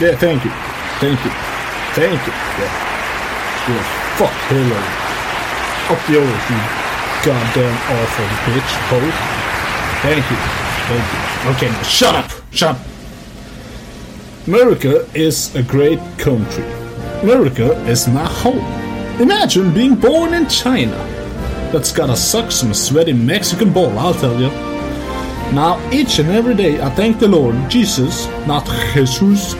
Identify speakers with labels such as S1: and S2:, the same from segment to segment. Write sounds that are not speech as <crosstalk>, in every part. S1: Yeah, thank you. Thank you. Thank you. Yeah. Yeah, fuck Hillary. Up yours, you goddamn awful bitch hoe. Thank you. Thank you. Okay, now shut up. Shut up. America is a great country. America is my home. Imagine being born in China. That's gotta suck some sweaty Mexican ball, I'll tell you. Now, each and every day, I thank the Lord Jesus, not Jesus,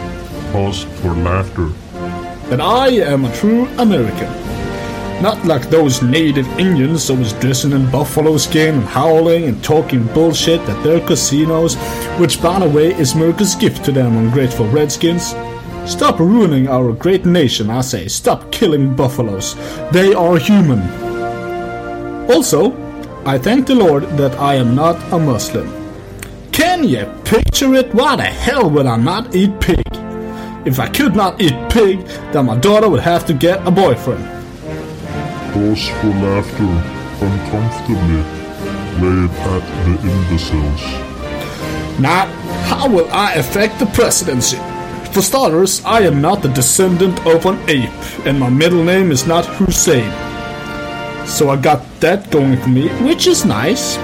S2: Pause for laughter.
S1: that I am a true American. Not like those native Indians always dressing in buffalo skin and howling and talking bullshit at their casinos, which, by the way, is America's gift to them ungrateful redskins. Stop ruining our great nation, I say. Stop killing buffaloes. They are human. Also, I thank the Lord that I am not a Muslim. Can you picture it? Why the hell would I not eat pig? If I could not eat pig, then my daughter would have to get a boyfriend.
S2: Pause for laughter. Uncomfortably. Lay it at the imbeciles.
S1: Now, how will I affect the presidency? For starters, I am not the descendant of an ape, and my middle name is not Hussein. So I got that going for me, which is nice.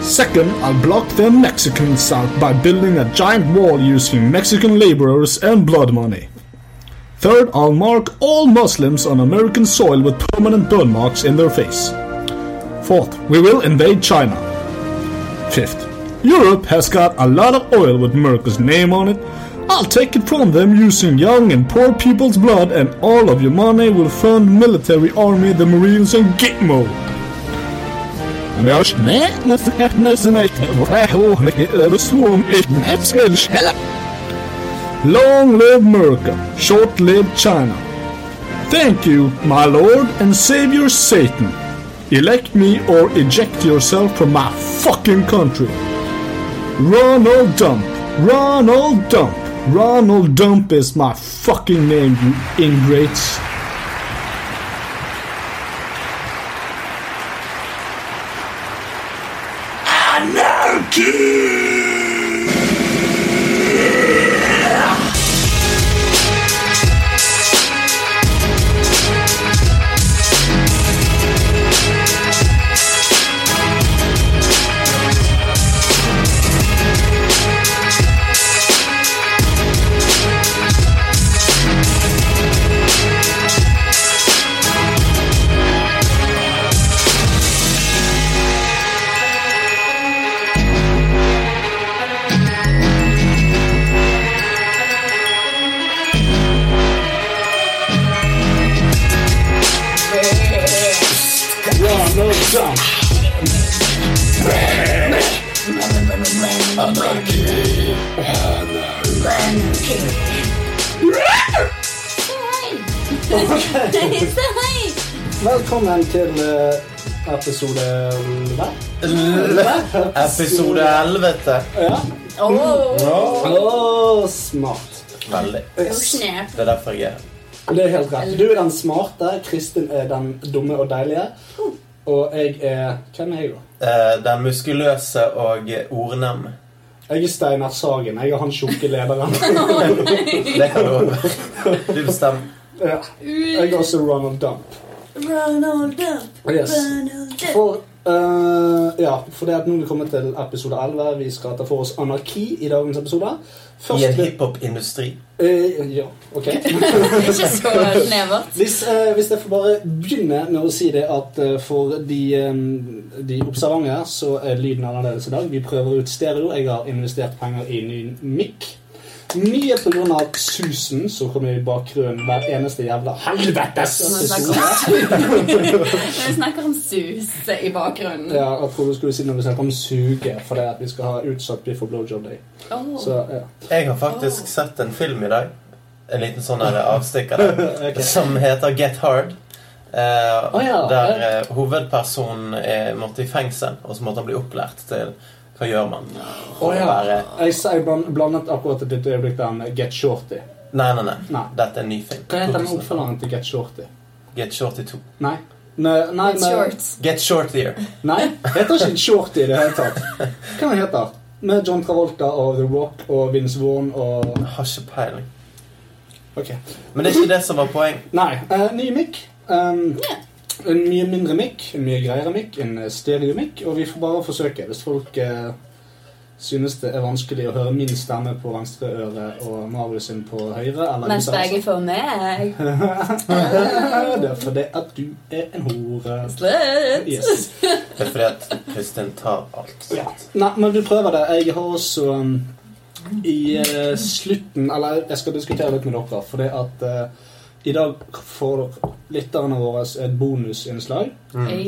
S1: Second, I'll block their Mexicans out by building a giant wall using Mexican laborers and blood money. Third, I'll mark all Muslims on American soil with permanent burn marks in their face. Fourth, we will invade China. Fifth, Europe has got a lot of oil with America's name on it. I'll take it from them using young and poor people's blood, and all of your money will fund military army, the Marines, and Gitmo. Long live America, short live China. Thank you, my lord and savior Satan. Elect me or eject yourself from my fucking country. Ronald Dump, Ronald Dump, Ronald Dump is my fucking name, you ingrates. Ronald Dump.
S3: Velkommen til eh, episode um, hva?
S4: Episode 11.
S3: Åh, smart.
S4: Veldig. Det er derfor jeg er her.
S3: Det er helt rett. Du er den smarte, Kristin er den dumme og deilige. Og jeg er Hvem er jeg, da?
S4: Eh, Den muskuløse og ordnem.
S3: Jeg er Steinar Sagen. Jeg er han tjukke lederen.
S4: <laughs> Det kan du også være. <laughs> Du bestemmer.
S3: ja. Jeg er også Ronald Dump.
S5: Ronald Dump.
S3: Yes.
S5: Ronald Dump.
S3: For eh, Ja, for det at nå er vi kommet til episode 11. Vi skal ta for oss anarki i dagens episode.
S4: I en
S3: vil-
S4: hiphop-industri.
S3: eh, Ja, ok.
S5: Ikke så snevert.
S3: Hvis, eh, hvis jeg får bare begynne med å si det at eh, for de, eh, de observante så er lyden annerledes i dag. Vi prøver ut stereo. Jeg har investert penger i ny mic. Mye pga. susen som kommer i bakgrunnen hver eneste jævla helvetes
S5: Når vi snakker
S3: episode.
S5: Når vi snakker om sus i bakgrunnen.
S3: Ja, jeg trodde du skulle si når vi snakker om suge, for det at vi skal ha utsatt biff og blowjob day.
S5: Åh.
S3: Så, ja.
S4: Jeg har faktisk sett en film i dag. En liten sånn her avstikker der.
S3: <laughs> Eh, Ok.
S4: Som heter Get Hard. Eh,
S3: Å ja,
S4: der eh, hovedpersonen eh, måtte i fengsel, og så måtte han bli opplært til hva gjør man
S3: Å
S4: for
S3: ja.
S4: å være
S3: Jeg, sa- jeg bland- blandet akkurat et lite øyeblikk der med Get Shorty.
S4: Nei, nei, nei.
S3: Nei.
S4: Dette er en ny film.
S3: Hva heter den oppfølgeren til Get Shorty?
S4: Get Shorty 2.
S3: Nei. Nei, nei,
S5: It's
S3: men-
S5: shorts.
S4: Get Shortier.
S3: Nei, heter ikke en shorty i det hele tatt. Hva den heter med John Travolta og The Rock og Vince Vaughn og
S4: Jeg har ikke peiling.
S3: Ok.
S4: Men det er ikke det som var poeng.
S3: Nei. eh, ny mic. Um,
S5: Ja.
S3: en mye mindre mic, en mye greiere mic, en eh, stereomic. Og vi får bare forsøke. Hvis folk eh, synes det er vanskelig å høre min stemme på venstre øre og Marius sin på høyre eller
S5: Mens
S3: vice
S5: begge får meg.
S3: versa. <laughs> Det er fordi at du er en hore.
S5: Slutt!
S3: Yes.
S4: Det er fordi at Kristin tar alt.
S3: Ja. Nei, men vi prøver det. Jeg har også um, i eh, slutten Eller jeg skal diskutere litt med dere, fordi at eh, i dag får lytterne våre et bonusinnslag.
S4: Mm.
S5: Oi.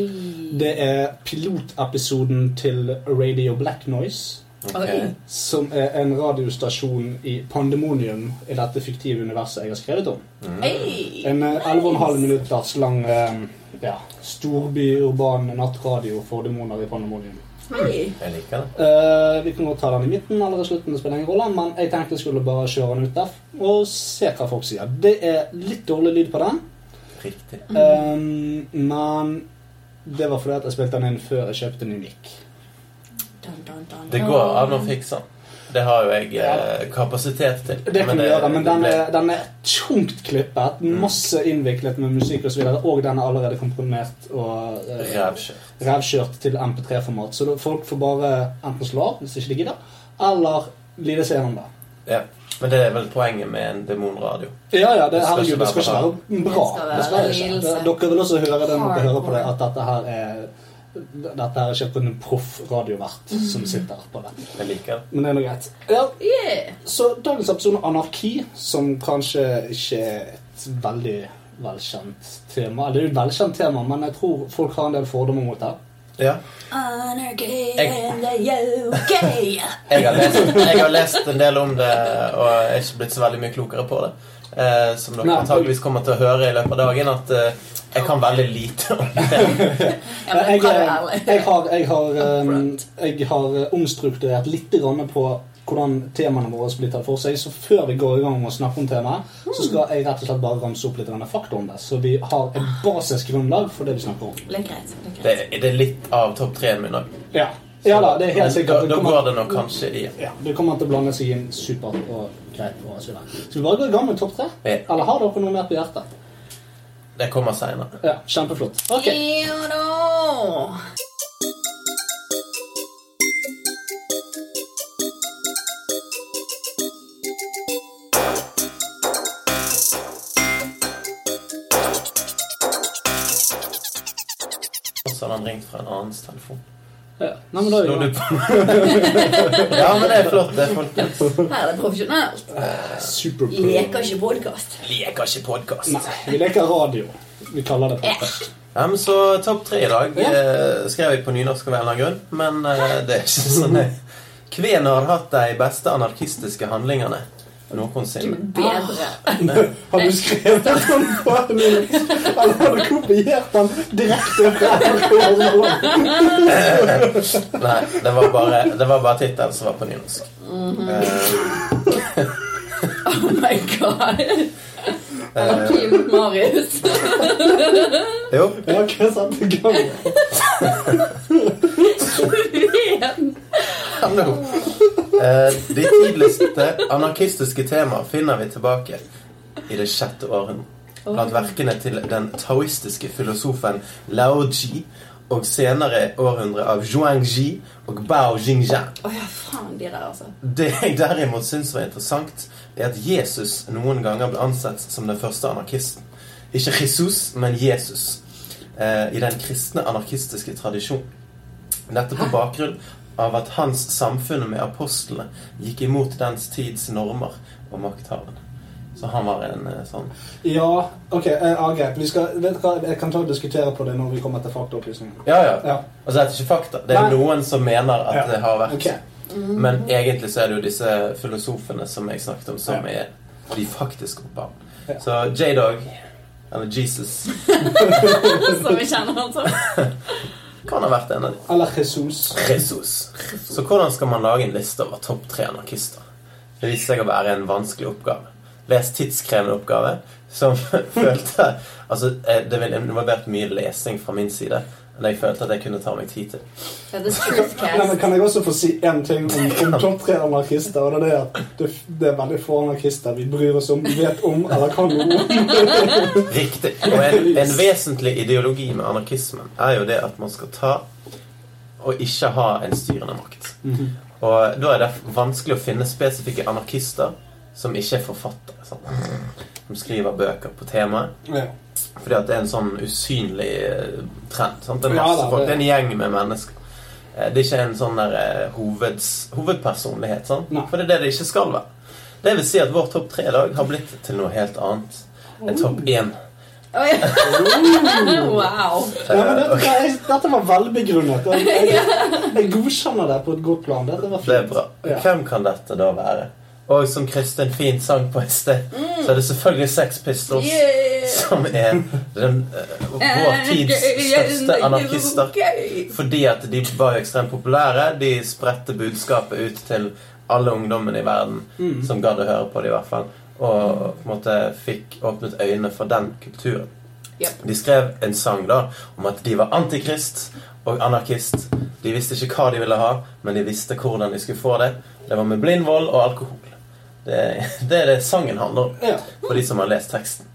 S3: Det er pilotepisoden til Radio Black Noise,
S4: ok.
S5: Oi.
S3: som er en radiostasjon i pandemonium i dette fiktive universet jeg har skrevet om.
S5: Oi.
S3: En eh, 11,5 minutters lang eh, ja, storby-urban nattradio for demoner i pandemonium.
S5: Oi.
S4: Jeg liker det.
S3: Eh, vi kan godt ta den i midten eller i slutten, det spiller ingen rolle, men jeg tenkte jeg skulle bare kjøre den ut der og se hva folk sier. Det er litt dårlig lyd på den,
S4: Riktig.
S3: eh, men det var fordi at jeg spilte den inn før jeg kjøpte ny mic.
S5: Dun, dun, dun,
S4: Det går an å fikse den. Det har jo jeg eh, kapasitet til.
S3: Det kan
S4: Men
S3: vi gjøre, men
S4: det
S3: den
S4: Mm. ble-
S3: er, den er tungt klippet, masse innviklet med musikk osv., og, så videre, og den er allerede komprimert og eh,
S4: Rævkjørt.
S3: revkjørt til MP3-format. Så da- folk får bare enten slå av hvis ikke de gidder, eller lide seg gjennom det.
S4: Ja. Men det er vel poenget med en demonradio.
S3: Ja, ja, det,
S4: Det skal
S3: herregud,
S4: ikke
S3: det skal ikke
S4: være
S3: være bra.
S5: Det skal
S3: Det skal
S5: være
S3: ikke.
S5: lidelse.
S3: Det- Dere vil også høre det når dere hører på det,
S5: Hardcore.
S3: at dette her er dette her er ikke kun en proff radiovert som
S5: Mm.
S3: sitter på det.
S4: Jeg liker det.
S3: Men det er nå greit. Ja,
S5: Yeah.
S3: Så dagens episode av Anarki, som kanskje ikke er et veldig velkjent tema Eller Det er jo et velkjent tema, men jeg tror folk har en del fordommer mot det.
S4: Ja.
S5: Anarchy
S4: Jeg-
S5: in the UK.
S4: Jeg har, lest, jeg har lest en del om det, og jeg er ikke blitt så veldig mye klokere på det. Eh, som dere
S3: Nei.
S4: antageligvis kommer til å høre i løpet av dagen, at eh, jeg kan veldig lite om det.
S5: Ja, men
S3: jeg,
S5: hva er det
S3: jeg,
S5: ærlig?
S3: jeg har, jeg
S5: <laughs>
S3: har, um,
S5: Upfront.
S3: jeg har eh, omstrukturert litt grann på hvordan temaene våre blir tatt for seg. Så før vi går i gang med å snakke om temaet,
S5: Hmm.
S3: så skal jeg rett og slett bare ramse opp litt grann fakta om det. Så vi har et basisgrunnlag for det vi snakker om.
S5: Litt greit. litt
S4: Det,
S5: greit.
S4: det er litt av topp tre-en min òg.
S3: Ja, ja da, det er helt
S4: Da,
S3: sikkert.
S4: da
S3: kommer-
S4: går det nok kanskje i
S3: Ja, Du kommer han til å blande seg inn supert og greit. og så videre. Skal vi bare gå i gang med topp tre?
S4: Ja.
S3: Eller har dere noe mer på hjertet?
S4: Det kommer seinere.
S3: Ja, Kjempeflott. Ok,
S5: Jo da.
S4: Og så har han ringt fra en annens telefon.
S3: ja. Nei, men da er
S4: Nå
S3: vi
S4: er
S3: i
S4: du på. <laughs> Ja, men det er flott, det, folkens.
S5: Her er det profesjonelt.
S3: gang. Super
S5: Leker ikke podkast.
S4: Leker ikke podkast.
S3: Nei, vi leker radio. Vi kaller det podkast.
S4: Ja, men så topp tre i dag
S3: Ja.
S4: eh, skrev jeg på nynorsk av en eller annen grunn. Men eh, det er ikke sånn det Kven har hatt de beste anarkistiske handlingene noensinne.
S5: Bedre.
S3: Har du skrevet den på Linux? Eller har du kopiert den direkte fra NRK?
S4: Nei, det var bare, det var bare tittelen som var på nynorsk. Eh,
S5: Oh my god. Anarchy mot Marius.
S4: jo,
S3: Jeg har ikke satt i gang.
S4: hallo. Eh, de tidligste anarkistiske temaer finner vi tilbake i det sjette århundret. Blant verkene til den taoistiske filosofen Lao Ji og senere århundre av Zhuang Ji og Bao Jingzhang.
S5: Å ja, faen, de der, altså.
S4: Det jeg derimot syns var interessant, er at Jesus noen ganger ble ansett som den første anarkisten. Ikke Jesus, men Jesus. Eh, I den kristne anarkistiske tradisjonen. Dette på bakgrunn av at hans samfunn med apostlene gikk imot dens tids normer og makthavende. Så han var en eh, sånn
S3: Ja, ok, eh, ja, greit. Vi skal, vet du hva, jeg kan ta og diskutere på det når vi kommer til faktaopplysningen.
S4: Ja, ja.
S3: Ja,
S4: Altså, dette er ikke fakta. Det er
S3: Nei.
S4: noen som mener at
S3: Ja.
S4: det har vært
S3: ok.
S4: Men egentlig så er det jo disse filosofene som jeg snakket om, som er de faktiske opphavene.
S3: Ja.
S4: Så J-Dog, eller Jesus,
S5: Som vi kjenner altså. han som.
S4: kan ha vært en av de.
S3: Eller Jesus.
S4: Jesus. Så hvordan skal man lage en liste over topp tre anarkister? Det viste seg å være en vanskelig oppgave. Les tidskrevende <laughs> oppgave, som følte Altså, eh, det ville involvert mye lesing fra min side. enn jeg følte at jeg kunne ta meg tid til.
S5: Dette er Truthcast.
S3: Nei, men kan jeg også få si én ting om, om topp tre anarkister? Og det er det at det, det er veldig få anarkister vi bryr oss om, vet om eller kan noe om.
S4: Riktig. Og en, en vesentlig ideologi med anarkismen er jo det at man skal ta og ikke ha en styrende makt.
S3: Mhm.
S4: Og da er det vanskelig å finne spesifikke anarkister som ikke er forfattere. Sant? Som skriver bøker på temaet.
S3: Ja.
S4: Fordi at det er en sånn usynlig eh, trend. Sant? Det, er
S3: Ja,
S4: masse
S3: da,
S4: folk,
S3: det-
S4: det er en gjeng med mennesker. Eh, Det er ikke en sånn der, eh, hoveds, hovedpersonlighet. Sant?
S3: Nei.
S4: For det er det det ikke skal være. Det vil si at vår topp tre i dag har blitt til noe helt annet. En topp én.
S5: Oi. wow.
S3: Ja, men dette, jeg, dette var velbegrunnet. og Jeg, jeg, jeg godkjenner det på et godt plan. Dette var
S4: Det er
S3: fint.
S4: bra.
S3: Ja.
S4: Hvem kan dette da være? Og som Kristin fint sang på i sted,
S3: Mm.
S4: så er det selvfølgelig Sex Pistols.
S5: Yeah.
S4: Som er den, eh, vår tids største anarkister.
S5: Gøy.
S4: Fordi at de var jo ekstremt populære. De spredte budskapet ut til alle ungdommene i verden som gadd å høre på det, i hvert fall. Og på en måte fikk åpnet øynene for den kulturen.
S5: Yep.
S4: De skrev en sang da om at de var antikrist og anarkist. De visste ikke hva de ville ha, men de visste hvordan de skulle få det. Det var med blindvold og alkohol. Det, det er det sangen handler om,
S3: Ja.
S4: for de som har lest teksten.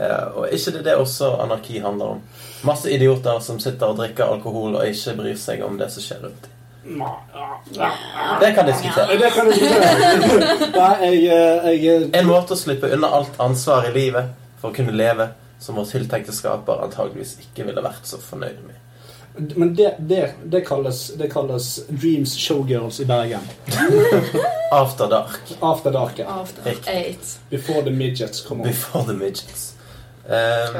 S4: Eh, og er ikke det det også anarki handler om? Masse idioter som sitter og drikker alkohol og ikke bryr seg om det som skjer rundt dem. Det kan diskuteres.
S3: Det kan jeg ikke gjøre. <laughs> Nei, jeg, eh, jeg
S4: En måte å slippe unna alt ansvar i livet for å kunne leve som vår tiltenkte skaper antageligvis ikke ville vært så fornøyd med.
S3: Men det, det, det, kalles, det kalles Dreams Showgirls i Bergen.
S4: After dark.
S3: After dark. ja.
S5: After eight.
S3: Before the midgets kommer.
S4: Before the midgets.
S5: Jeg vet
S4: Um,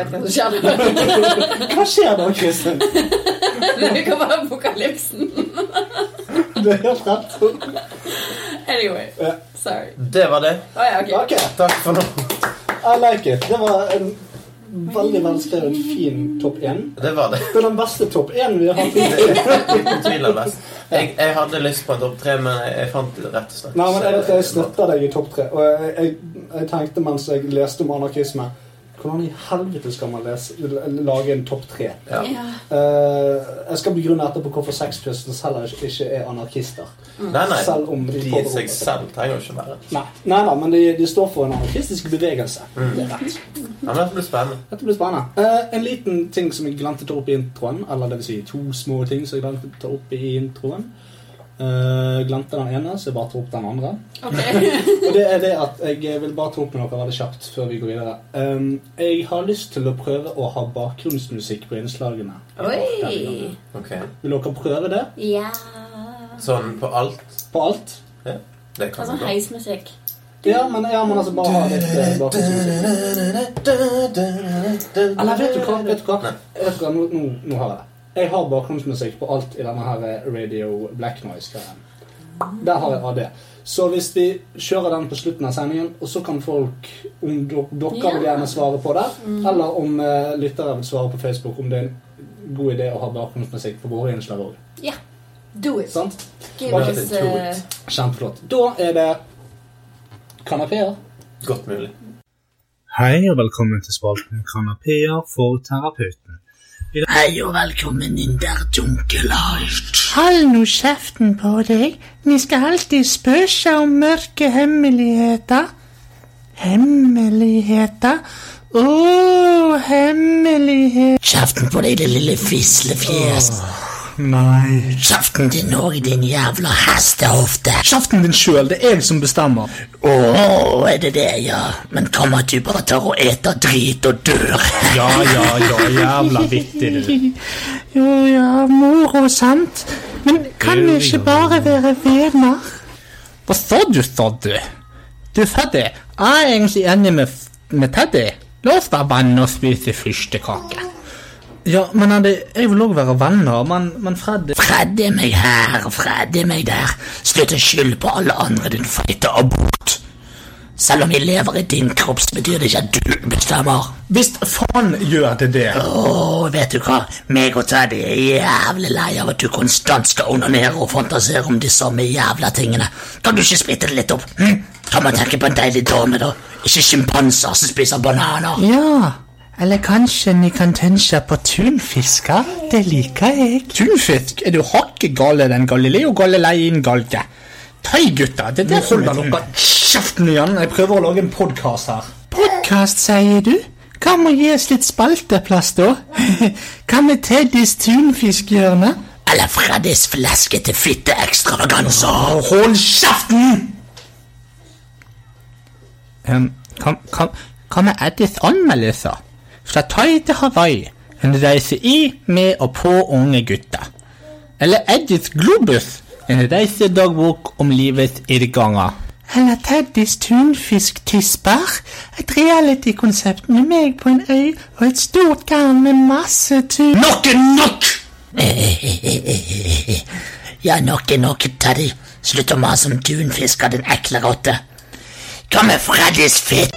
S5: ikke hva som skjer. <laughs>
S3: Hva skjer da, Kristin?
S5: Det kan være apokalypsen.
S3: Du er helt rett.
S5: Anyway.
S3: Ja.
S5: Sorry.
S4: det var det.
S5: Å ja, ok.
S3: Ok,
S4: Takk for nå.
S3: I like it. Det var en veldig velskrevet, fin topp én.
S4: Det var det.
S3: Det er den beste topp én vi har hatt.
S4: Det er Uten tvil er best. Jeg, jeg hadde lyst på en topp tre, men jeg, jeg fant det rett og slett
S3: Nei, men jeg, vet, jeg støtter deg i topp tre. Og jeg, jeg, jeg tenkte mens jeg leste om anarkisme Hvordan i helvete skal man lese, lage en topp tre?
S4: Ja.
S5: Ja.
S3: Eh, jeg skal begrunne etterpå hvorfor Sex Pistols heller ikke, ikke er anarkister.
S4: Mm. Nei, nei.
S3: Selv om de
S4: De i
S3: påberoper
S4: seg
S3: seg.
S4: selv trenger jo ikke være det.
S3: Nei, nei, nei men de, de står for en anarkistisk bevegelse. Det er rett.
S4: Ja, men dette blir spennende.
S3: Dette blir spennende. Eh, en liten ting som jeg glemte å ta opp i introen, eller det vil si to små ting som jeg glemte å ta opp i introen. Eh, glemte den ene, så jeg bare tar opp den andre.
S5: Ok. <laughs>
S3: Og det er det at jeg vil bare ta opp med dere veldig kjapt før vi går videre. Um, jeg har lyst til å prøve å ha bakgrunnsmusikk på innslagene. Denne
S5: Oi.
S3: gangen.
S4: Ok.
S3: Vil dere prøve det
S5: Ja.
S4: Sånn på alt.
S3: på alt?
S4: Det
S5: Det er
S4: kan
S5: sånn
S4: gå.
S5: heismusikk.
S3: Ja, men, ja, men altså bare ha litt eh, bakgrunnsmusikk. Eller vet du hva? Vet du hva?
S4: Nei.
S3: Vet du hva? Nå, nå, nå har jeg det. Jeg har bakgrunnsmusikk på alt i denne her eh, Radio Black Noise-greien. Der har jeg AD. Så hvis vi kjører den på slutten av sendingen, og så kan folk, om dere, dere vil
S5: Ja.
S3: gjerne svare på det, eller om eh, lyttere vil svare på Facebook, om det er en god idé å ha bakgrunnsmusikk på våre innslag òg.
S5: Ja. Do it.
S6: Sånn.
S3: Sant?
S5: Give
S3: Ok,
S5: us
S4: do
S5: eh,
S4: it.
S3: Kjempeflott. Da er det kanapeer.
S4: Godt mulig.
S6: Hei og velkommen til spalten Kanapeer for terapeuten.
S7: Hei og velkommen inn der, Dunkelight.
S8: Hold nå kjeften på deg. Vi skal alltid spøke om mørke hemmeligheter. Hemmeligheter? Å, hemmelighet...
S7: Kjeften på deg, det lille fislefjes.
S6: Nei.
S7: Kjeften din òg, din jævla hestehofte.
S6: Kjeften din sjøl, det er jeg som bestemmer.
S7: Å, er det det, ja? Men kom at du bare tar og eter drit og dør.
S6: Ja, ja, ja, jævla vittig du.
S8: Jo ja, moro, sant? Men kan vi ikke bare være venner?
S6: Hva sa du, sa du? Du sa det. Jeg er egentlig enig med, med Teddy. La oss være venner og spise fyrstekake. Ja, men Andy, jeg vil òg være venner, men, men Fred
S7: Fredde meg her, fredde meg der. Slutt å skylde på alle andre, din feite abort. Selv om jeg lever i din kropp, så betyr det ikke at du bestemmer.
S6: Visst faen gjør det det.
S7: Åh, vet du hva? Meg og Teddy er jævlig lei av at du konstant skal onanere og fantasere om de samme jævla tingene. Kan du ikke splitte det litt opp? Hm? Kan man tenke på en deilig dame, da? Ikke sjimpanser som spiser bananer.
S8: Ja,
S3: Eller kanskje vi kan tenke på tunfisker? Det liker jeg. Tunfisk? Er du hakket gal i den Galileo Galilein-galge? Tøy, gutter. Det der holder dere kjeften igjen. Jeg prøver å lage en podkast her.
S9: Podkast, sier du? Hva med å gi oss litt spalteplass, da?
S3: <laughs>
S9: Hva med Teddys tunfiskhjørne?
S10: Eller Freddys flaske til fitteekstravaganser.
S3: Hold kjeften! kan, kan, kan jeg Eddys anmeldelser? Fra Thai til Hawaii. En reise i, med og på unge gutter. Eller Eddys Globus. En reisedagbok om livets irrganger.
S9: Eller Teddys tunfisktisper? Et realitykonsept med meg på en øy og et stort garn med masse tun...
S10: Nok er nok! <laughs> ja, nok er nok, Teddy. Slutt å mase om tunfisker, din ekle rotte. Hva med Freddys fitt?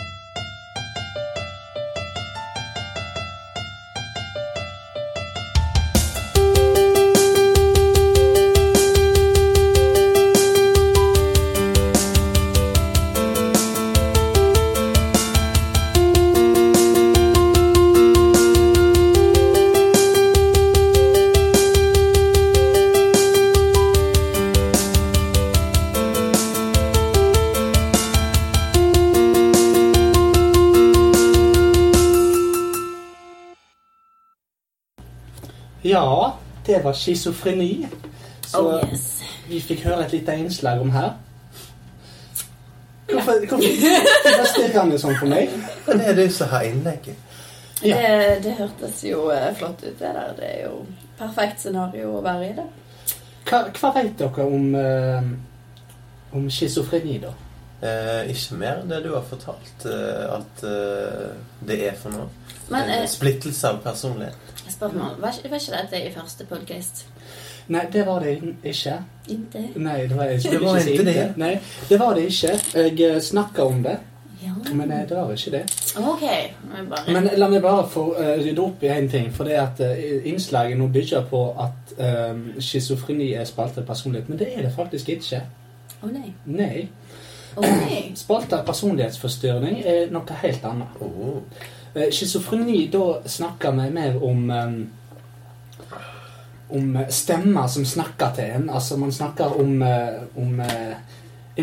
S6: Ja, det var schizofreni. Så
S5: Oh, yes.
S6: vi fikk høre et lite innslag om her. Hvorfor, hvorfor, hvorfor stirrer han jo sånn på meg?
S4: Men det er du som har innlegget.
S6: Ja.
S5: Det, det hørtes jo eh, flott ut, det der. Det er jo perfekt scenario å være i, det.
S6: Hva, hva vet dere om, eh, om schizofreni, da?
S4: Eh, ikke mer enn det du har fortalt eh, at eh, det er for noe.
S5: Men
S4: Eh,
S5: eh,
S4: Splittelse av personlighet.
S5: jeg spør meg, var, ikke- var ikke dette i første podcast?
S6: Nei, det var det ikke.
S5: Inte?
S6: Nei, det var, jeg skulle
S4: Det var
S6: ikke si
S4: ikke det.
S6: det. Nei, det var det ikke. Jeg eh, snakket om det,
S5: Ja.
S6: men eh, det var ikke det.
S5: Ok. men Bare.
S6: Men la meg bare få eh, rydde opp i en ting. For det at eh, innslaget nå bygger på at eh, schizofreni er spaltet personlighet. Men det er det faktisk ikke.
S5: Å nei.
S6: Nei.
S5: Å nei.
S6: Spaltet personlighetsforstyrring er noe helt annet.
S4: Oh.
S6: Eh, Schizofreni, da snakker vi mer om eh, Om eh, stemmer som snakker til en. Altså, man snakker om, eh, om eh,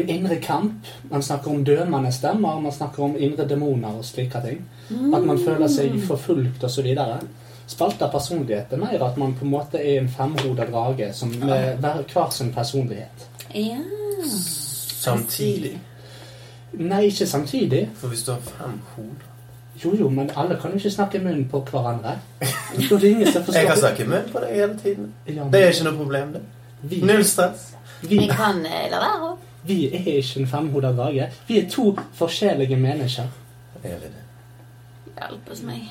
S6: en indre kamp. Man snakker om dømende stemmer, man snakker om indre demoner og slike ting. At man føler seg forfulgt osv. Spalter personlighet er mer at man på en måte er en femhoda drage som med hver, hver sin personlighet.
S5: Ja.
S4: Samtidig.
S6: Nei, ikke samtidig.
S4: For hvis du har fem hoder
S6: Jo, jo, men alle kan jo ikke snakke i munnen på hverandre. Jo, det er ingen som forstår
S4: Jeg kan snakke i munnen på deg hele tiden.
S6: Ja, men-
S4: Det er ikke noe problem, det.
S6: Vi,
S4: Null stress.
S6: vi,
S5: Jeg kan eh, la være.
S6: vi er ikke en femhoda drage. Vi er to forskjellige mennesker.
S4: Er vi det?
S5: Hjelpes
S6: <laughs>
S5: meg.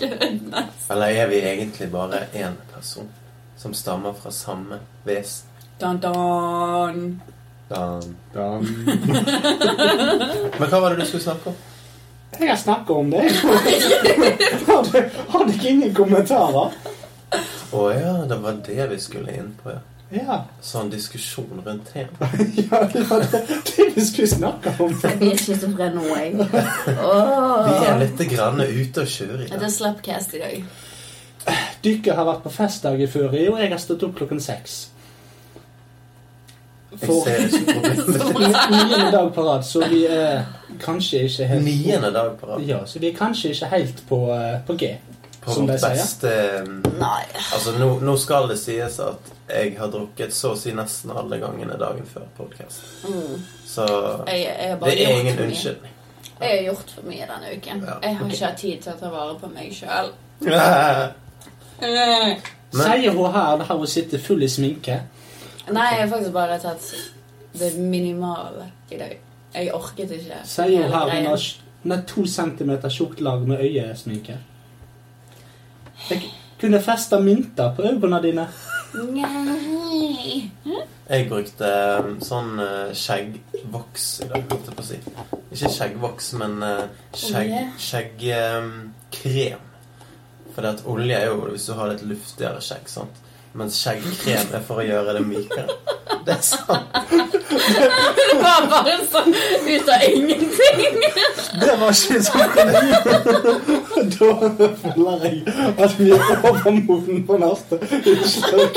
S5: Goodness.
S4: Eller er vi egentlig bare én person som stammer fra samme vesen?
S5: Don, don.
S4: Dan. <laughs> Men hva var det du skulle snakke om?
S6: Jeg har snakket om det. <laughs> har, du, har du ikke ingen kommentarer?
S4: Å ja, det var det vi skulle inn på, ja.
S6: Ja.
S4: Sånn diskusjon rundt tema.
S6: ja det var det, det vi skulle snakke om.
S5: Jeg er ikke så fra nå, jeg. Åh.
S4: Vi er litt grann ute og kjører i
S5: Ja, Det
S4: dag.
S5: er slapcast i dag.
S6: Dere har vært på festdagen før, og jeg har stått opp klokken seks.
S4: Jeg
S6: For
S4: ser ikke
S5: <laughs>
S4: problemet.
S6: niende dag på rad, så vi er kanskje ikke helt
S4: Niende dag på rad.
S6: Ja, så vi er kanskje ikke helt på, eh, på G.
S4: På
S6: Som de
S4: vårt
S6: sier.
S4: beste eh,
S5: Nei.
S4: Altså, nå, nå skal det sies at jeg har drukket så å si nesten alle gangene dagen før podcast. Så
S5: Mm. Jeg, jeg har bare
S4: det er
S5: gjort
S4: ingen
S5: for mye.
S4: unnskyldning.
S5: Jeg har gjort for mye denne uken.
S4: Ja,
S5: Jeg har ikke hatt tid til å ta vare på meg sjøl.
S4: <laughs> Nei, Men-
S6: Sier hun her der hun sitter full i sminke.
S5: <laughs> Nei, jeg har faktisk bare tatt det minimale i dag. Jeg orket ikke.
S6: Sier
S5: hele
S6: hun her hun
S5: greien.
S6: har sj- hun har to centimeter tjukt lag med øyesminke. Jeg kunne festa mynter på øynene dine.
S5: Nei. <laughs>
S4: jeg brukte eh, sånn eh, skjeggvoks i dag, holdt jeg på å si. Ikke skjeggvoks, men eh, skjegg,
S5: Olje?
S4: skjeggkrem. For det at olje er jo hvis du har litt luftigere skjegg, sant. Mens skjeggkrem er for å gjøre det mykere. Det er sant.
S5: Det var bare sånn ut av ingenting. <laughs>
S4: Det var ikke sånn.
S6: Da føler jeg at vi er overmodne på neste utslag.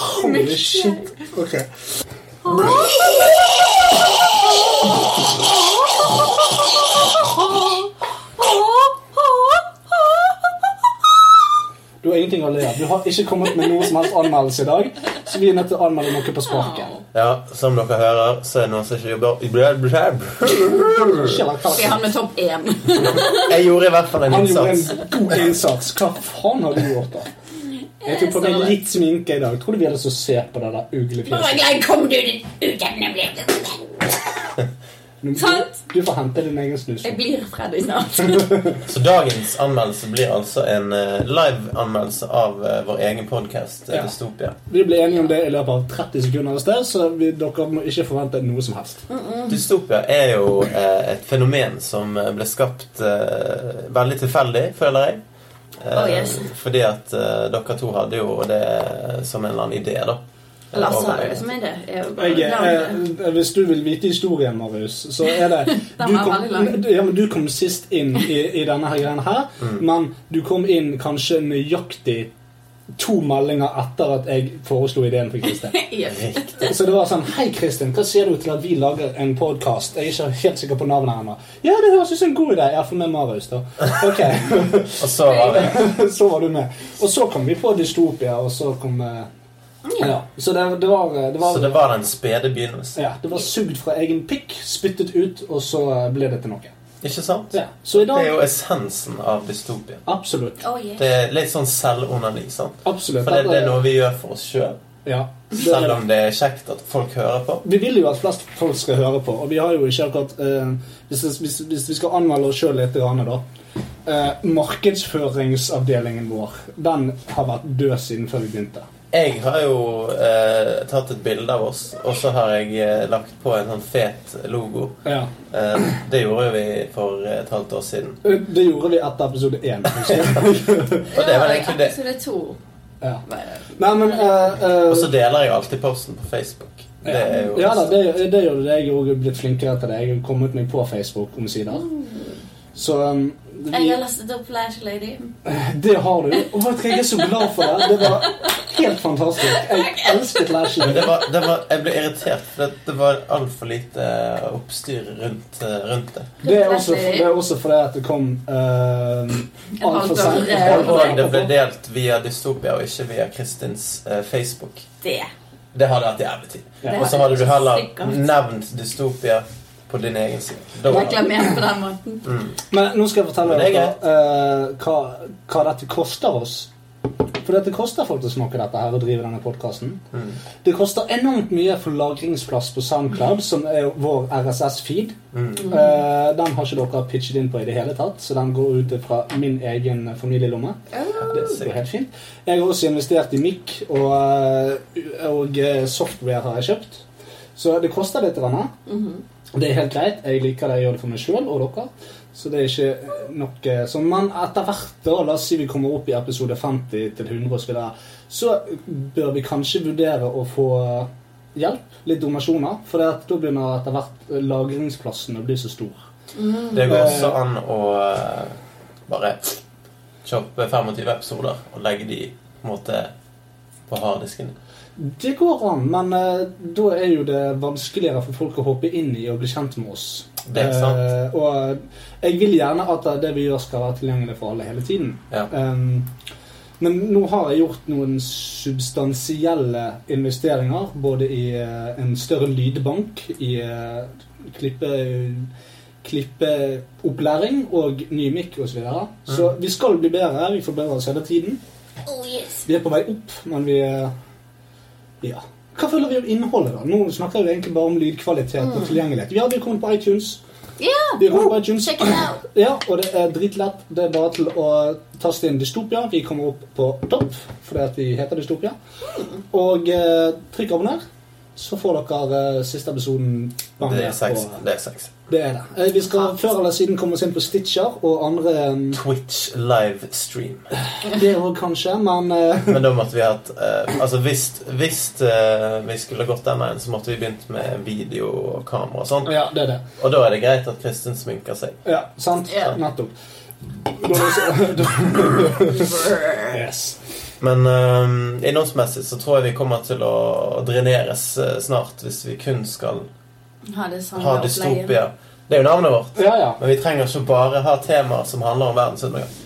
S6: Holy shit. Ok. Du har ingenting å le av. Du har ikke kommet med noe som helst anmeldelse i dag, så vi er nødt til å anmelde noe på sparket.
S4: Ja, som dere hører, så er det noen som ikke jobber.
S5: Det er han med topp én.
S4: Jeg gjorde i hvert fall en
S6: Han gjorde
S4: innsats.
S6: en god innsats. Hva faen har du gjort, da? Jeg tok på meg litt sminke i dag. Tror du vi hadde så se på det der uglefjeset?
S5: Jeg kom du din utakknemlige Sant?
S6: Du får hente din egen snus.
S5: Jeg blir Freddy
S4: <laughs>
S5: snart.
S4: Så dagens anmeldelse blir altså en eh, live-anmeldelse av eh, vår egen podkast
S6: Ja.
S4: Dystopia.
S6: Vi ble enige om det i løpet av 30 sekunder et sted, så vi, dere må ikke forvente noe som helst.
S4: Dystopia er jo eh, et fenomen som eh, ble skapt eh, veldig tilfeldig, føler jeg. Eh,
S5: Oh, yes.
S4: Fordi at eh, dere to hadde jo det som en eller annen idé, da. Eh,
S5: Lasse
S4: Over-
S5: har det som er det. Jeg er jo bare
S6: Jeg, eh,
S5: navnet.
S6: hvis du vil vite historien, Marius, så er det
S5: <laughs> Den
S6: Du
S5: var
S6: kom,
S5: veldig lang.
S6: ja, men du kom sist inn i, i denne her greien her, men du kom inn kanskje nøyaktig to meldinger etter at jeg foreslo ideen
S5: <laughs>
S6: for Kristin.
S5: Yes.
S6: Så det var sånn Hei, Kristin, hva sier du til at vi lager en podkast? Jeg er ikke helt sikker på navnet ennå. Ja, det høres ut som en god idé. Ja, få med Marius, da. Ok,
S4: Og så var det
S6: <laughs> Så var du med. Og så kom vi på Dystopia, og så kom eh, Ja. Så det, det var, eh, det
S4: Så
S6: var
S4: det var den spede begynnelsen.
S6: ja, det var sugd fra egen pikk, spyttet ut, og så eh, ble det til noe.
S4: Ikke sant?
S6: Ja. Så i
S4: Det er
S6: dag
S4: jo essensen av dystopia.
S6: Absolutt.
S5: Oh, yes.
S4: Det er litt sånn selvonani. sant?
S6: absolutt.
S4: For det, det er
S6: Dette-
S4: noe vi gjør for oss sjøl,
S6: ja, det er
S4: selv
S6: det.
S4: om det er kjekt at folk hører på.
S6: Vi vil jo at flest folk skal høre på, og vi har jo ikke akkurat eh, hvis, hvis, hvis vi skal anmelde oss sjøl litt, grann, da eh, Markedsføringsavdelingen vår Den har vært død siden før vi begynte.
S4: Jeg har jo eh, tatt et bilde av oss, og så har jeg eh, lagt på en sånn fet logo.
S6: Ja.
S4: Eh, det gjorde jo vi for et halvt år siden.
S6: Eh, Det gjorde vi etter episode
S4: <laughs>
S6: én. husker jeg.
S4: Og det er vel egentlig det.
S5: Episode to.
S6: ja.
S5: var det.
S6: Nei, men eh, eh,
S4: Og så deler jeg alltid posten på Facebook. Det er jo
S6: Ja da, det, det gjør det. Jeg er jo blitt flinkere til det. Jeg har kommet meg på Facebook omsider. Så um,
S5: Jeg
S6: vi,
S5: har lastet opp Flash Lady.
S6: det har du. Og vet du hva, jeg er så glad for det. Det var helt fantastisk. Jeg elsket
S4: Men
S6: Lashley.
S4: det var, det var, jeg ble irritert, for det, det var altfor lite eh, oppstyr rundt, eh, rundt det.
S6: Det er også, det er også fordi at det kom uh, altfor sent.
S5: Ja,
S4: Og og det ble
S6: Og-
S4: delt via Dystopia og ikke via Kristins eh, Facebook.
S5: Det.
S4: Det hadde vært jævlig tid.
S6: Ja.
S4: Og så hadde du heller
S5: Sikkert.
S4: nevnt Dystopia på din egen side. Da var det-
S5: Reklamert på den måten.
S6: Men nå skal jeg fortelle
S4: Men det er
S6: dere eh, hva, hva dette koster oss. For dette koster faktisk noe, dette her, å drive denne podkasten.
S4: Mm.
S6: Det koster enormt mye for lagringsplass på
S4: Mm.
S6: SoundCloud, som er vår RSS-feed. Eh, den har ikke dere pitchet inn på i det hele tatt, så den går ut fra min egen familielomme. Det går helt fint. Jeg har også investert i mic, og, eh, og eh, software har jeg kjøpt. Så det koster litt. Denne. Det er helt greit. Jeg liker det jeg gjør det for meg sjøl og dere. Så det er ikke eh, noe sånn. Men etter hvert, da, la oss si vi kommer opp i episode 50 til 100 osv., så bør vi kanskje vurdere å få hjelp, litt donasjoner. For det at da begynner etter hvert eh, lagringsplassen å bli så stor.
S4: Det går også an å eh, bare choppe 25 episoder og legge de på en måte på harddisken.
S6: Det går an, men eh, da er jo det vanskeligere for folk å hoppe inn i og bli kjent med oss.
S4: Det er sant.
S6: Eh, og jeg vil gjerne at det vi gjør, skal være tilgjengelig for alle hele tiden.
S4: Ja.
S6: Um, men nå har jeg gjort noen substansielle investeringer, både i eh, en større lydbank, i eh, klippe klippeopplæring og ny mic osv. Så, videre. så
S4: Mm.
S6: vi skal bli bedre. Vi forbedrer oss hele tiden.
S5: Oh, yes.
S6: Vi er på vei opp, men vi eh, Ja. Hva føler vi om innholdet, da? Nå snakker vi egentlig bare om lydkvalitet
S5: Mm.
S6: og tilgjengelighet. Ja, vi kommer på iTunes.
S5: Ja,
S6: Vi kommer på iTunes.
S5: Oh, check it out.
S6: <clears throat> Ja, og det er dritlett. Det er bare til å taste inn Dystopia. Vi
S5: Mm.
S6: kommer opp på topp fordi at vi heter Dystopia. Og eh, trykk abonner. så får dere eh, siste episoden. bang,
S4: Det er seks.
S6: og-
S4: Det er seks.
S6: Det er det. Eh, Vi skal før eller siden komme oss inn på Stitcher og andre
S5: <laughs>
S6: um,
S4: Twitch live stream.
S6: Det òg, kanskje, men eh, <laughs>
S4: Men da måtte vi hatt eh, Altså hvis, hvis eh, vi skulle gått den veien, så måtte vi begynt med video og kamera og sånn.
S6: Ja, det er det.
S4: Og da er det greit at Kristin sminker seg.
S6: Ja, sant?
S5: Ja.
S6: Nettopp. Da er det også- da- yes.
S4: Men eh, innholdsmessig så tror jeg vi kommer til å dreneres eh, snart hvis vi kun skal
S5: Ha det sånn, samme
S4: ha
S5: opplegget.
S4: dystopia. Det er jo navnet vårt.
S6: Ja, ja.
S4: Men vi trenger ikke bare ha temaer som handler om verdensundergang.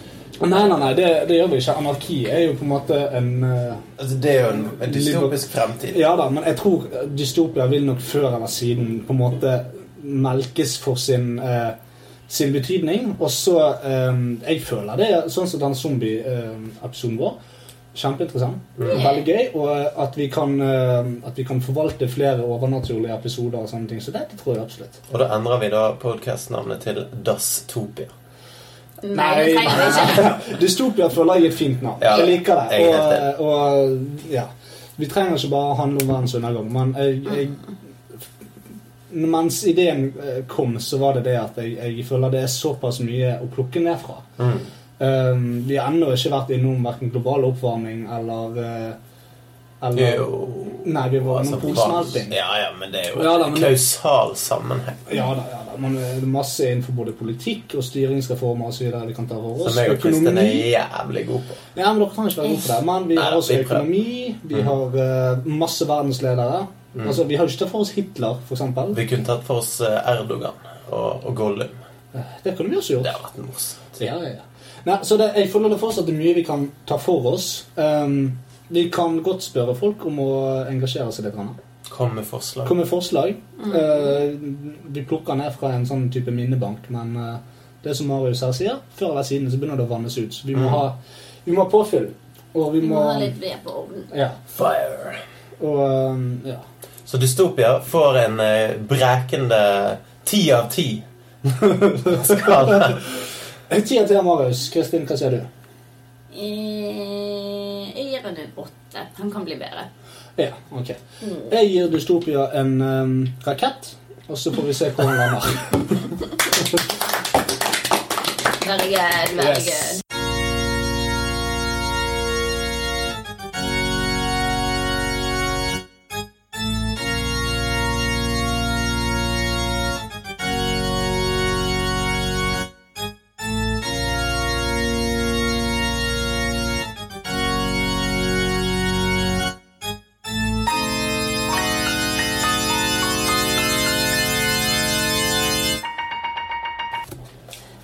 S6: Nei, nei, nei, det, det gjør vi ikke. Anarki er jo på en måte en eh,
S4: Altså, det er jo en, en dystopisk fremtid.
S6: Ja da, men jeg tror dystopia vil nok før eller siden på en måte melkes for sin, eh, sin betydning. Og så eh, Jeg føler det er sånn som den zombie-episoden vår. Kjempeinteressant. Veldig gøy. Og at vi kan, eh, at vi kan forvalte flere overnaturlige episoder og sånne ting. Så det, det tror jeg absolutt.
S4: Og da endrer vi da podkastnavnet til Dasstopia.
S5: Nei, det trenger vi ikke.
S6: Dystopia føler jeg er et fint navn.
S4: Ja,
S6: jeg liker det.
S4: jeg er helt
S6: og, og ja. Vi trenger ikke bare handle om verdens undergang, men jeg, jeg mens ideen eh, kom, så var det det at jeg, jeg føler det er såpass mye å plukke ned fra.
S4: Mm.
S6: Um, vi har ennå ikke vært innom verken global oppvarming eller, eh, eller Nei, vi var
S4: altså,
S6: innom polsmelting.
S4: Ja, ja, men det er jo
S6: Ja, da,
S4: en
S6: men-
S4: kausal sammenheng.
S6: Ja da, ja da. Men eh, det er masse innenfor både politikk og styringsreformer osv. vi kan ta for
S4: Som
S6: oss.
S4: jeg og Kristin er
S6: Økonomi.
S4: jævlig gode på.
S6: Ja, men dere trenger ikke være gode på det. Men vi
S4: Nei,
S6: har også
S4: vi prøver. Mm.
S6: økonomi, vi har eh, masse verdensledere. Altså, Vi har jo ikke tatt for oss Hitler, for eksempel.
S4: Vi kunne tatt for oss eh, Erdogan og, og Gollum.
S6: Eh, Det kunne vi også gjort.
S4: Det hadde vært morsomt.
S6: Ja, ja, ja. Nei, så det, jeg føler det fortsatt er mye vi kan ta for oss. Ehm, vi kan godt spørre folk om å engasjere seg litt. grann.
S4: Kom med forslag.
S6: Kom med forslag. Eh, vi plukker ned fra en sånn type minnebank, men eh, det som Marius her sier, før eller siden så begynner det å vannes ut. Så vi må
S4: Mm.
S6: ha, vi må ha påfyll. Og vi
S5: Vi
S6: må
S5: må ha litt ved på ovnen.
S6: Ja.
S4: Fire.
S6: Og ehm, ja.
S4: Så Dystopia får en eh, brekende ti av ti. <laughs> Skala.
S6: Tida til Marius. Kristin, hva sier du?
S5: Eh, Jeg gir henne en åtte. Han kan bli bedre.
S6: Ja, ok.
S5: Mm.
S6: Jeg gir Dystopia en ehm, rakett, og så får vi se hvor han lander.
S5: Very good, very
S6: Yes.
S5: good.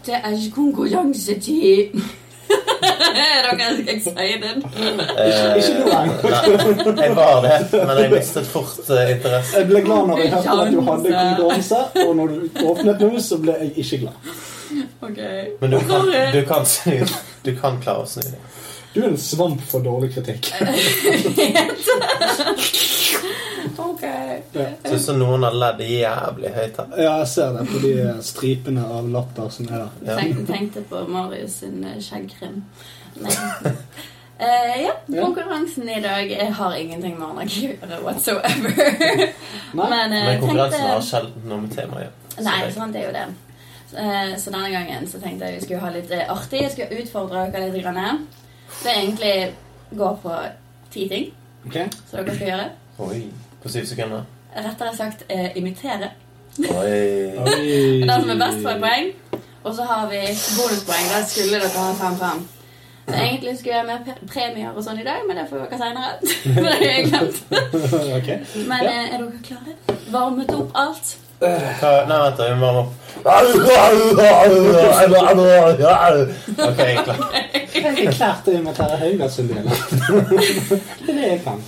S5: Det er ikke konkurransetid. Er <laughs> dere excited?
S4: Eh,
S6: Ikke noe annet.
S4: nei, jeg var det, men jeg mistet fort eh, interessen.
S6: Jeg ble glad når jeg hørte at du hadde
S5: Sjanse.
S6: konkurranse, og når du åpnet nå, så ble jeg ikke glad.
S5: Ok.
S4: Men du kan,
S5: Sorry.
S4: du kan snu Du kan klare å snu det.
S6: Du er en svamp for dårlig kritikk.
S5: Ok.
S4: Syns noen har ledd jævlig høyt her.
S6: Ja, jeg ser det på de stripene av latter som er der.
S4: Ja.
S5: Tenk, tenkte på Marius sin eh, skjeggkrim.
S4: <laughs>
S5: Nei. Eh, ja,
S6: Ja.
S5: konkurransen i dag eh, har ingenting med anarki å gjøre
S4: <laughs>
S5: whatsoever.
S6: Nei?
S5: Men, eh,
S4: Men konkurransen
S5: tenkte-
S4: har sjelden noe med temaet å gjøre.
S5: Nei,
S4: Så
S5: sant, det er jo det. Eh, Så denne gangen så tenkte jeg vi skulle ha litt eh, artig. Jeg skulle utfordre dere litt. Grann. Så egentlig går på ti ting
S6: Ok?
S5: som dere skal gjøre.
S4: det- Oi. På syv sekunder.
S5: Rettere sagt eh, imitere.
S4: Oi.
S6: Oi.
S5: Den som er best, får et poeng. Og så har vi bonuspoeng. Der skulle dere ha fem-fem. Så egentlig skulle jeg ha mer pe- premier og sånn i dag, men det får dere seinere. <laughs> det har jeg glemt.
S6: Ok.
S5: Men eh, er dere klare? Varmet opp alt?
S4: Hva- Nei, vent, da. Hun varmer opp. Ok, jeg er klar.
S6: Jeg er klart det med Terje Haugas en del. Det er det jeg kan.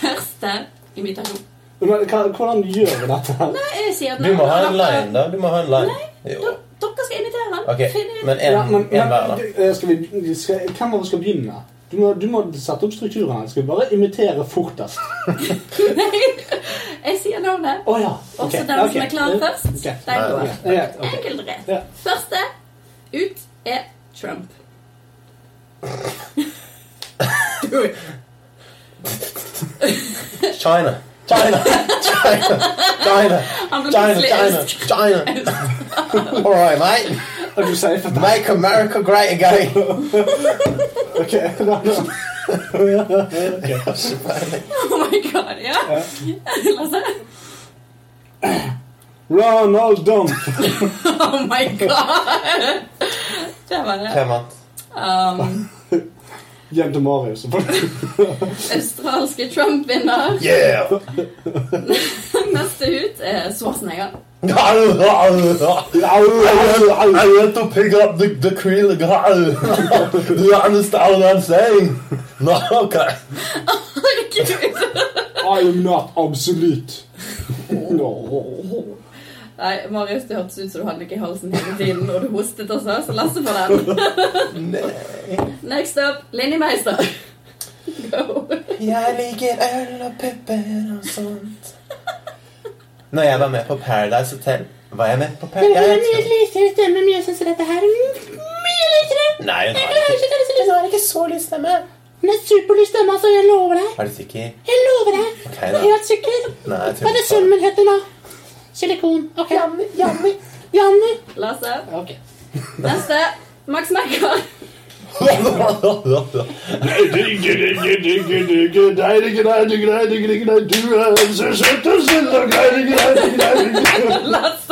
S5: Første imitasjon.
S6: Men hva, hvordan gjør vi dette her?
S5: Nei, jeg sier at
S4: Du må ha en line, da. Du må ha en line. Jo.
S5: Dere skal imitere den.
S4: Ok,
S5: Finn ut.
S4: men
S6: Ja,
S4: en
S6: men,
S4: en
S6: men
S4: hver, da.
S6: eh, skal vi, skal, hvem av oss skal begynne? Du må, du må sette opp strukturen her. Skal vi bare imitere fortest?
S5: <laughs> Jeg sier navnet.
S6: Å ja.
S5: Og
S6: ok,
S5: så den som
S6: ok. Eh,
S5: er klar først,
S6: Ok,
S5: den
S4: Ja,
S5: går.
S4: ja.
S6: ok, ok.
S5: Enkelt og rett.
S6: Ja.
S5: Første ut er Trump.
S4: China. China!
S6: <laughs>
S4: China! China!
S5: Han ble
S4: China!
S5: plutselig
S4: China!
S5: øst.
S4: China! <laughs> All right, mate.
S6: Og du sier for
S4: Make America great again.
S6: Ok, da, da.
S5: Oh my god, ja. Lasse?
S6: Ronald Dump.
S5: Oh my god! Det var det.
S4: Hvem vant?
S5: Um,
S6: Hjem til Marius. <laughs>
S5: australske Trump-vinner.
S4: Yeah!
S5: Neste ut er Schwarzenegger. <laughs>
S4: I went to pick up the, the krill guy. <laughs> Do you understand what I'm saying? <laughs> No, okay.
S5: Herregud!
S6: I am not absolute. No.
S5: Nei, Marius, det hørtes ut som du hadde noe i halsen hele tiden, og du hostet også, så Lasse får den. Next up, Linni Meister. Go.
S4: Jeg liker øl og pupper og sånt. Når jeg var med på Paradise Hotel, var jeg med på Paradise
S9: <laughs>
S4: Hotel?
S9: lysere stemme, men jeg syns dette her er mye lysere.
S4: Nei,
S9: <laughs>
S4: hun har ikke.
S9: Hun har ikke så lys stemme. Hun har superlys stemme, altså. Jeg lover deg.
S4: Er du sikker?
S9: Jeg lover deg.
S4: Ok, da.
S9: Helt sikker.
S4: Nei, jeg tror
S9: Hva er det
S4: ikke på det.
S9: sønnen min heter, da? Silikon. Ok. Janni. Janni. Janni.
S5: Lasse.
S6: Ok.
S5: Neste, Max Mekker.
S4: <laughs>
S5: Lasse.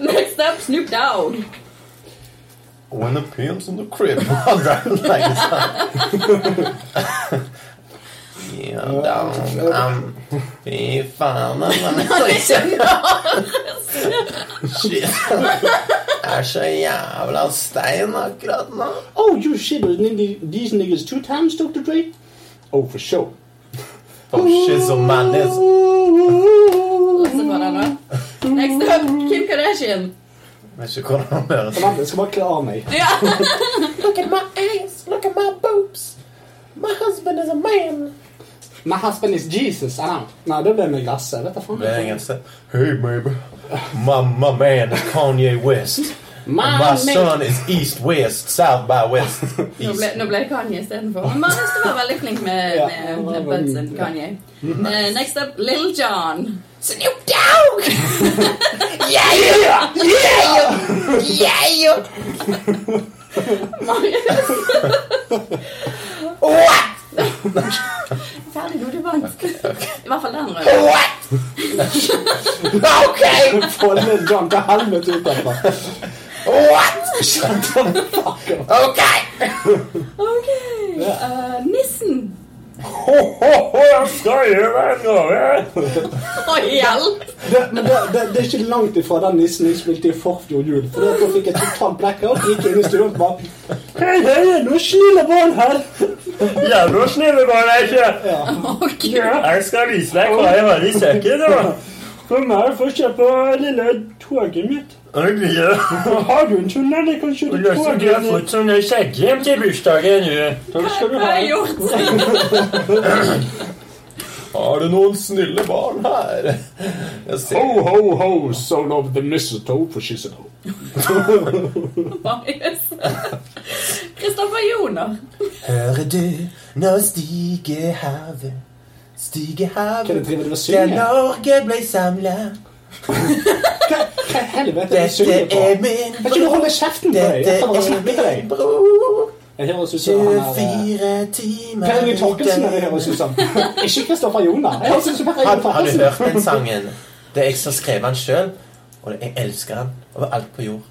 S5: Next up, Snoop Dogg.
S4: When a pimp's in the crib, <laughs> I'm driving like this. Yeah, down, um, fy faen, altså. <laughs> Shit. Jeg er så jævla stein akkurat nå.
S6: Oh, you shitted these niggas two times, Dr. Dre? Oh, for sure.
S4: Oh, shit, so man is. <laughs>
S5: Lasse får den nå. Next up, Kim Kardashian.
S4: Vet ikke hvordan han høres
S6: <laughs> Kom an, jeg skal bare kle av meg. <laughs>
S5: Ja.
S9: Look at my eyes. Look at my boobs. My husband is a man.
S6: My husband is Jesus. I don't. Nei, det ble meg Lasse. Vet du faen.
S4: Det er
S6: <laughs>
S4: engelsk. Hey, baby. My, my man is Kanye West.
S6: My
S4: And my son is East West, South by West.
S5: Nå ble,
S4: East.
S5: nå ble det Kanye istedenfor. Men Marius du var veldig flink med,
S6: Ja.
S5: med, med Bunsen. Kanye. Eh, next up, Little John.
S10: Snoop Dogg! Yeah, yeah, yeah, yeah.
S5: Marius.
S10: What?
S5: Ferdig, nå du vant. I hvert fall den røde.
S10: What? Okay,
S6: Få den John til helvete ut derfra.
S10: what? Okay.
S5: Ok. Eh, nissen.
S4: Jeg skal gjøre en gang.
S5: Å, hjelp!
S6: Det, men det, det, det er ikke langt ifra den nissen jeg spilte i forfjor jul. For da fikk jeg totalt blackout. Gikk inn i studio og bare Hei, hei, nå snille barn her.
S4: Jævla snill var jeg ikke.
S5: Ok.
S4: Jeg skal vise deg hva jeg har i sekken.
S6: Kom her for å kjøpe lille toget mitt. Har du en tunnel jeg kan kjøre
S4: sånn skjegghjem til bursdagen.
S6: Takk skal du
S5: Hva har jeg gjort?
S4: Har du noen snille barn her? Jeg ser.
S6: ho, ho, son of the mistletoe for shizzle.
S5: Marius. Kristoffer Joner.
S4: Hører du, nå stiger havet. Stiger
S6: Hva er det
S4: havet.
S6: du driver og
S4: Der
S6: synger?
S4: Norge ble samla.
S6: Hva i helvete er det du
S4: Dette
S6: synger på?
S4: er min
S6: Kan ikke du holde kjeften på deg?
S4: Dette
S6: Jeg faen, jeg
S4: er
S6: slipper
S4: min
S6: deg.
S4: bror.
S6: Jeg høres ut som han er
S4: 24
S6: eh,
S4: timer
S6: Per Inge Torkelsen. er det jeg høres ut som. <laughs> Ikke Kristoffer Joner. Jeg høres ut som Per Inge
S4: Har du
S6: Torkelsen.
S4: hørt den sangen? Det er jeg som skrev den sjøl, og jeg elsker den over alt på jord.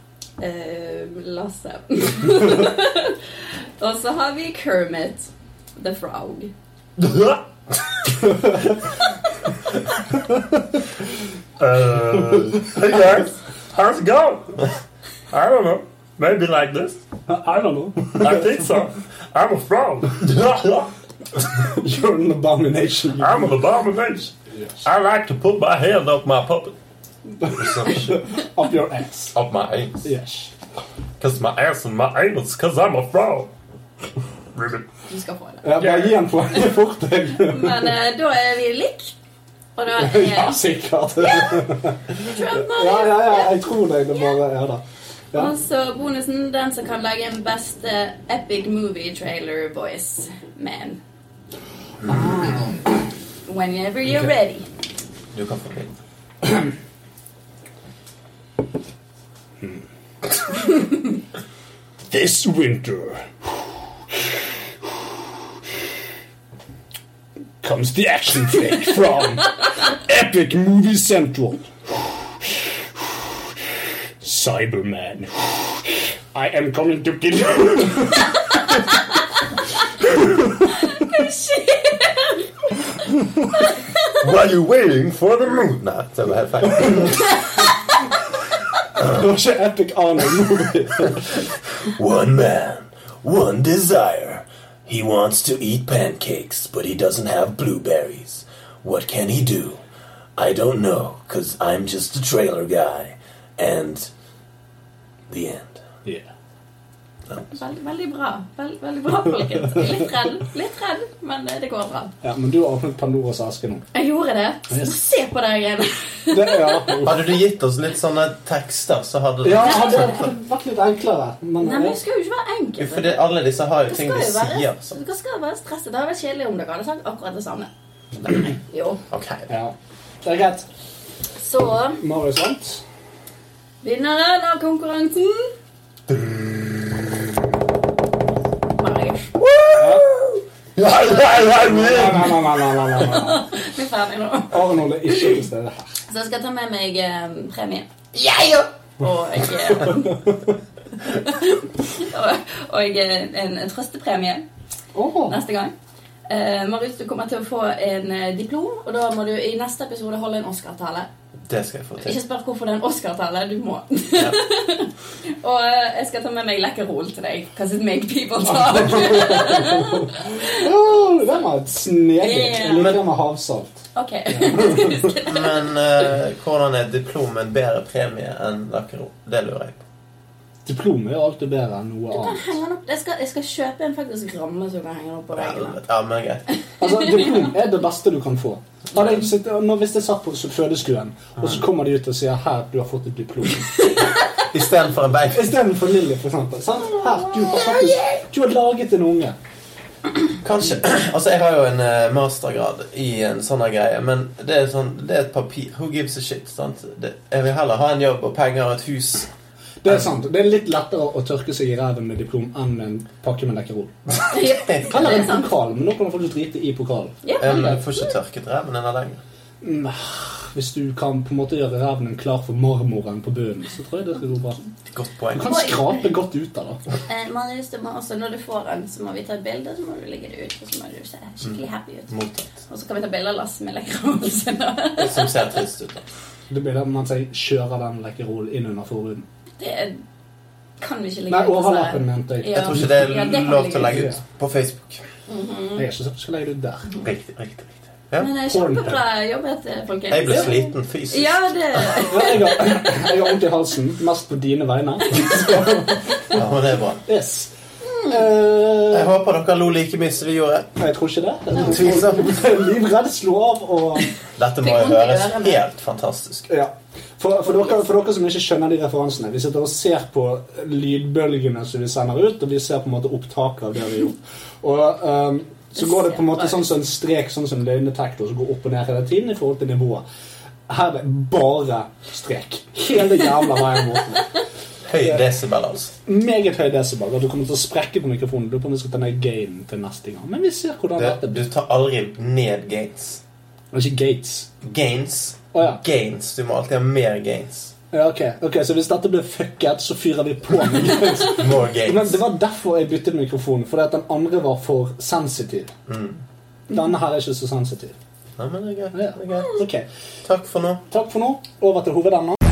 S5: Eh,
S6: <laughs>
S5: Lasse. Og så har vi Kermit. The Frog.
S4: Uh, hey guys, how's it going? I don't know. Maybe like this.
S6: I don't know.
S4: I think so. I'm a frog.
S6: <laughs>
S4: <laughs>
S6: You're an abomination. you-
S4: I'm an abomination. I like to put my hand up my puppet.
S6: Up your ass.
S4: up my anus.
S6: Yes.
S4: Cause my ass and my anus, cause I'm a frog. Ribbit.
S5: Du skal få det.
S6: Jeg bare gi en poeng <laughs> fort. jeg.
S5: Men eh, da er vi lik. Og da er
S6: <laughs> Ja, sikkert.
S5: Trump
S6: Ja,
S5: Marius.
S6: ja, ja, jeg tror deg. Det bare er da. Ja.
S5: Og så bonusen, den som kan lage en eh, beste epic movie trailer voice man. Ah. whenever you're
S4: Ok.
S5: ready.
S4: Du kan få den.
S6: This winter comes the action flick from Epic Movie Central. Cyberman. I am coming to kill you.
S4: While you're waiting for the moon Nei, det var helt
S6: <laughs>
S4: feil.
S6: Det var ikke Epic Arnold-movie.
S4: <laughs> One man, one desire. He wants to eat pancakes, but he doesn't have blueberries. What can he do? I don't know, because I'm just a trailer guy. And the end.
S5: Veldig, veldig bra. Vel- veldig bra, folkens. Litt redd, litt redd, men eh, det går bra.
S6: Ja, men du har åpnet Pandoras aske <laughs> nå.
S5: Jeg gjorde det. Se på deg igjen.
S6: Det, ja.
S4: Hadde du gitt oss litt sånne tekster, så hadde
S6: Ja, hadde hadde vært litt enklere. Men, eh,
S5: Nei, men det skal jo ikke være
S4: Jo,
S5: enkelt.
S4: For det, alle disse har jo
S5: Hva
S4: ting
S5: skal
S4: de
S5: jo være,
S4: sier. altså. Så.
S5: hva skal jo være stresset? Det hadde vært kjedelig om dere hadde sagt akkurat det samme. Jo.
S4: Ok.
S6: ja. det er greit.
S5: Så
S6: Marius vant.
S5: vinneren av konkurransen Marius.
S6: Nei, nei, nei, nei, nei, nei, nei, nei.
S5: Vi er ferdig nå.
S6: Arnold er ikke til stede her.
S5: Så jeg skal ta med meg eh, premien. Og, jeg, eh, <laughs> og, og jeg, eh, en, en trøstepremie
S6: Åh.
S5: neste gang. Eh, Marius, du kommer til å få en eh, diplom, og da må du i neste episode holde en Oscar-tale.
S4: Det skal jeg få til.
S5: Ikke spør hvorfor det er en Oscar-tale. Du må.
S4: Ja.
S5: <laughs> og eh, jeg skal ta med meg lekkerol til deg. 'Cause it make people
S4: <laughs>
S5: talk.
S6: Åh, den var snedig. Jeg liker den med havsalt.
S5: ok.
S4: Men eh, hvordan er diplom en bedre premie enn lakero? Det lurer jeg på.
S6: Diplom er jo alltid bedre enn noe
S5: Kan
S6: annet.
S5: henge den opp. Jeg, skal, jeg skal kjøpe en faktisk ramme som kan henge den opp på veggen.
S4: Helvete. Ja, men greit.
S6: Altså, Diplom er det beste du kan få. Hadde jeg sittet- nå, hvis jeg satt på fødeskuen, og så kommer de ut og sier 'Her, du har fått et diplom'. <laughs>
S4: Istedenfor en bag.
S6: Istedenfor Lilly, for eksempel. Sant? Her, du har faktisk Du har laget en unge.
S4: Kanskje. Altså, jeg har jo en eh, mastergrad i en sånn her greie, men det er, sånn, det er et papir. Who gives a shit? sant? Det, jeg vil heller ha en jobb og penger og et hus.
S6: Det er sant. Det er litt lettere å tørke seg i ræven med diplom enn med en pakke med Lekkerol.
S5: Kan
S6: Eller en pokal, men nå kan du faktisk drite i pokalen.
S5: Ja,
S4: Ja, men jeg får ikke tørket ræven denne lenger.
S6: Hvis du kan på en måte gjøre ræven din klar for marmoren på bunnen, så tror jeg det skal gå bra.
S4: Godt
S6: Du
S4: poeng.
S6: kan skrape godt ut av det.
S5: Eh, Marius, du må også, når du får den, så må vi ta et bilde, så må du legge det ut, og så må du se skikkelig
S4: Mm.
S5: happy ut.
S4: Mottatt.
S5: Og så kan vi ta bilde av Lasse med lekkerholsen.
S4: Som ser trist ut. da.
S6: Det blir det mens jeg kjører den Lekkerol inn under forhuden.
S5: Det kan vi ikke legge
S6: Nei,
S5: ut, altså.
S6: overlappen, mente jeg.
S4: Jeg tror ikke det er
S5: Ja, det kan
S4: lov
S5: vi
S4: til å legge
S6: legge ut.
S4: ut på Facebook.
S6: Jeg er ikke så skal legge det ut der.
S4: Riktig, riktig, riktig. Ja.
S5: Men eh, kjempebra jobbet, eh, folkens.
S4: Jeg ble sliten fysisk.
S5: Ja, det
S4: <laughs>
S6: Ja, Jeg har, jeg har vondt i halsen, mest på dine vegne.
S4: Ja, men det er bra.
S6: Yes. Eh,
S4: Jeg håper dere lo like mye som vi gjorde.
S6: jeg tror ikke det. Jeg
S4: Tviler.
S6: tror Livredd slo av og
S4: Dette
S5: Fikk
S4: må jo
S5: vondt i
S4: høres
S5: ørene.
S4: helt fantastisk ut.
S6: Ja. For, for, dere, for dere som ikke skjønner de referansene Vi sitter og ser på lydbølgene som vi sender ut, og vi ser på en måte opptaket av det vi gjorde. Og ehm, så går det på en måte sånn som en strek, sånn som løgndetektor, som går opp og ned hele tiden i forhold til nivået. Her er det bare strek. Hele jævla veien bort.
S4: Høy desibel, altså.
S6: Meget høy desibel. Og du kommer til å sprekke på mikrofonen. Du kommer til å ta ned gainen til neste gang. Men vi ser hvordan
S4: Det,
S6: dette
S4: du
S6: blir.
S4: tar aldri ned gains.
S6: Det er Ikke gates.
S4: Gains.
S6: Å ja.
S4: Gains. Du må alltid ha mer gains.
S6: Ja, ok. ok, Så hvis dette blir fucket, så fyrer vi på med gates.
S4: More
S6: Men
S4: gains.
S6: det var derfor jeg byttet mikrofon, fordi at den andre var for sensitiv. Denne her er ikke så sensitiv.
S4: Nei, men det er greit.
S6: Ja.
S4: Det er greit.
S6: Ok,
S4: Takk for nå.
S6: Takk for nå. Over til hovedemnet.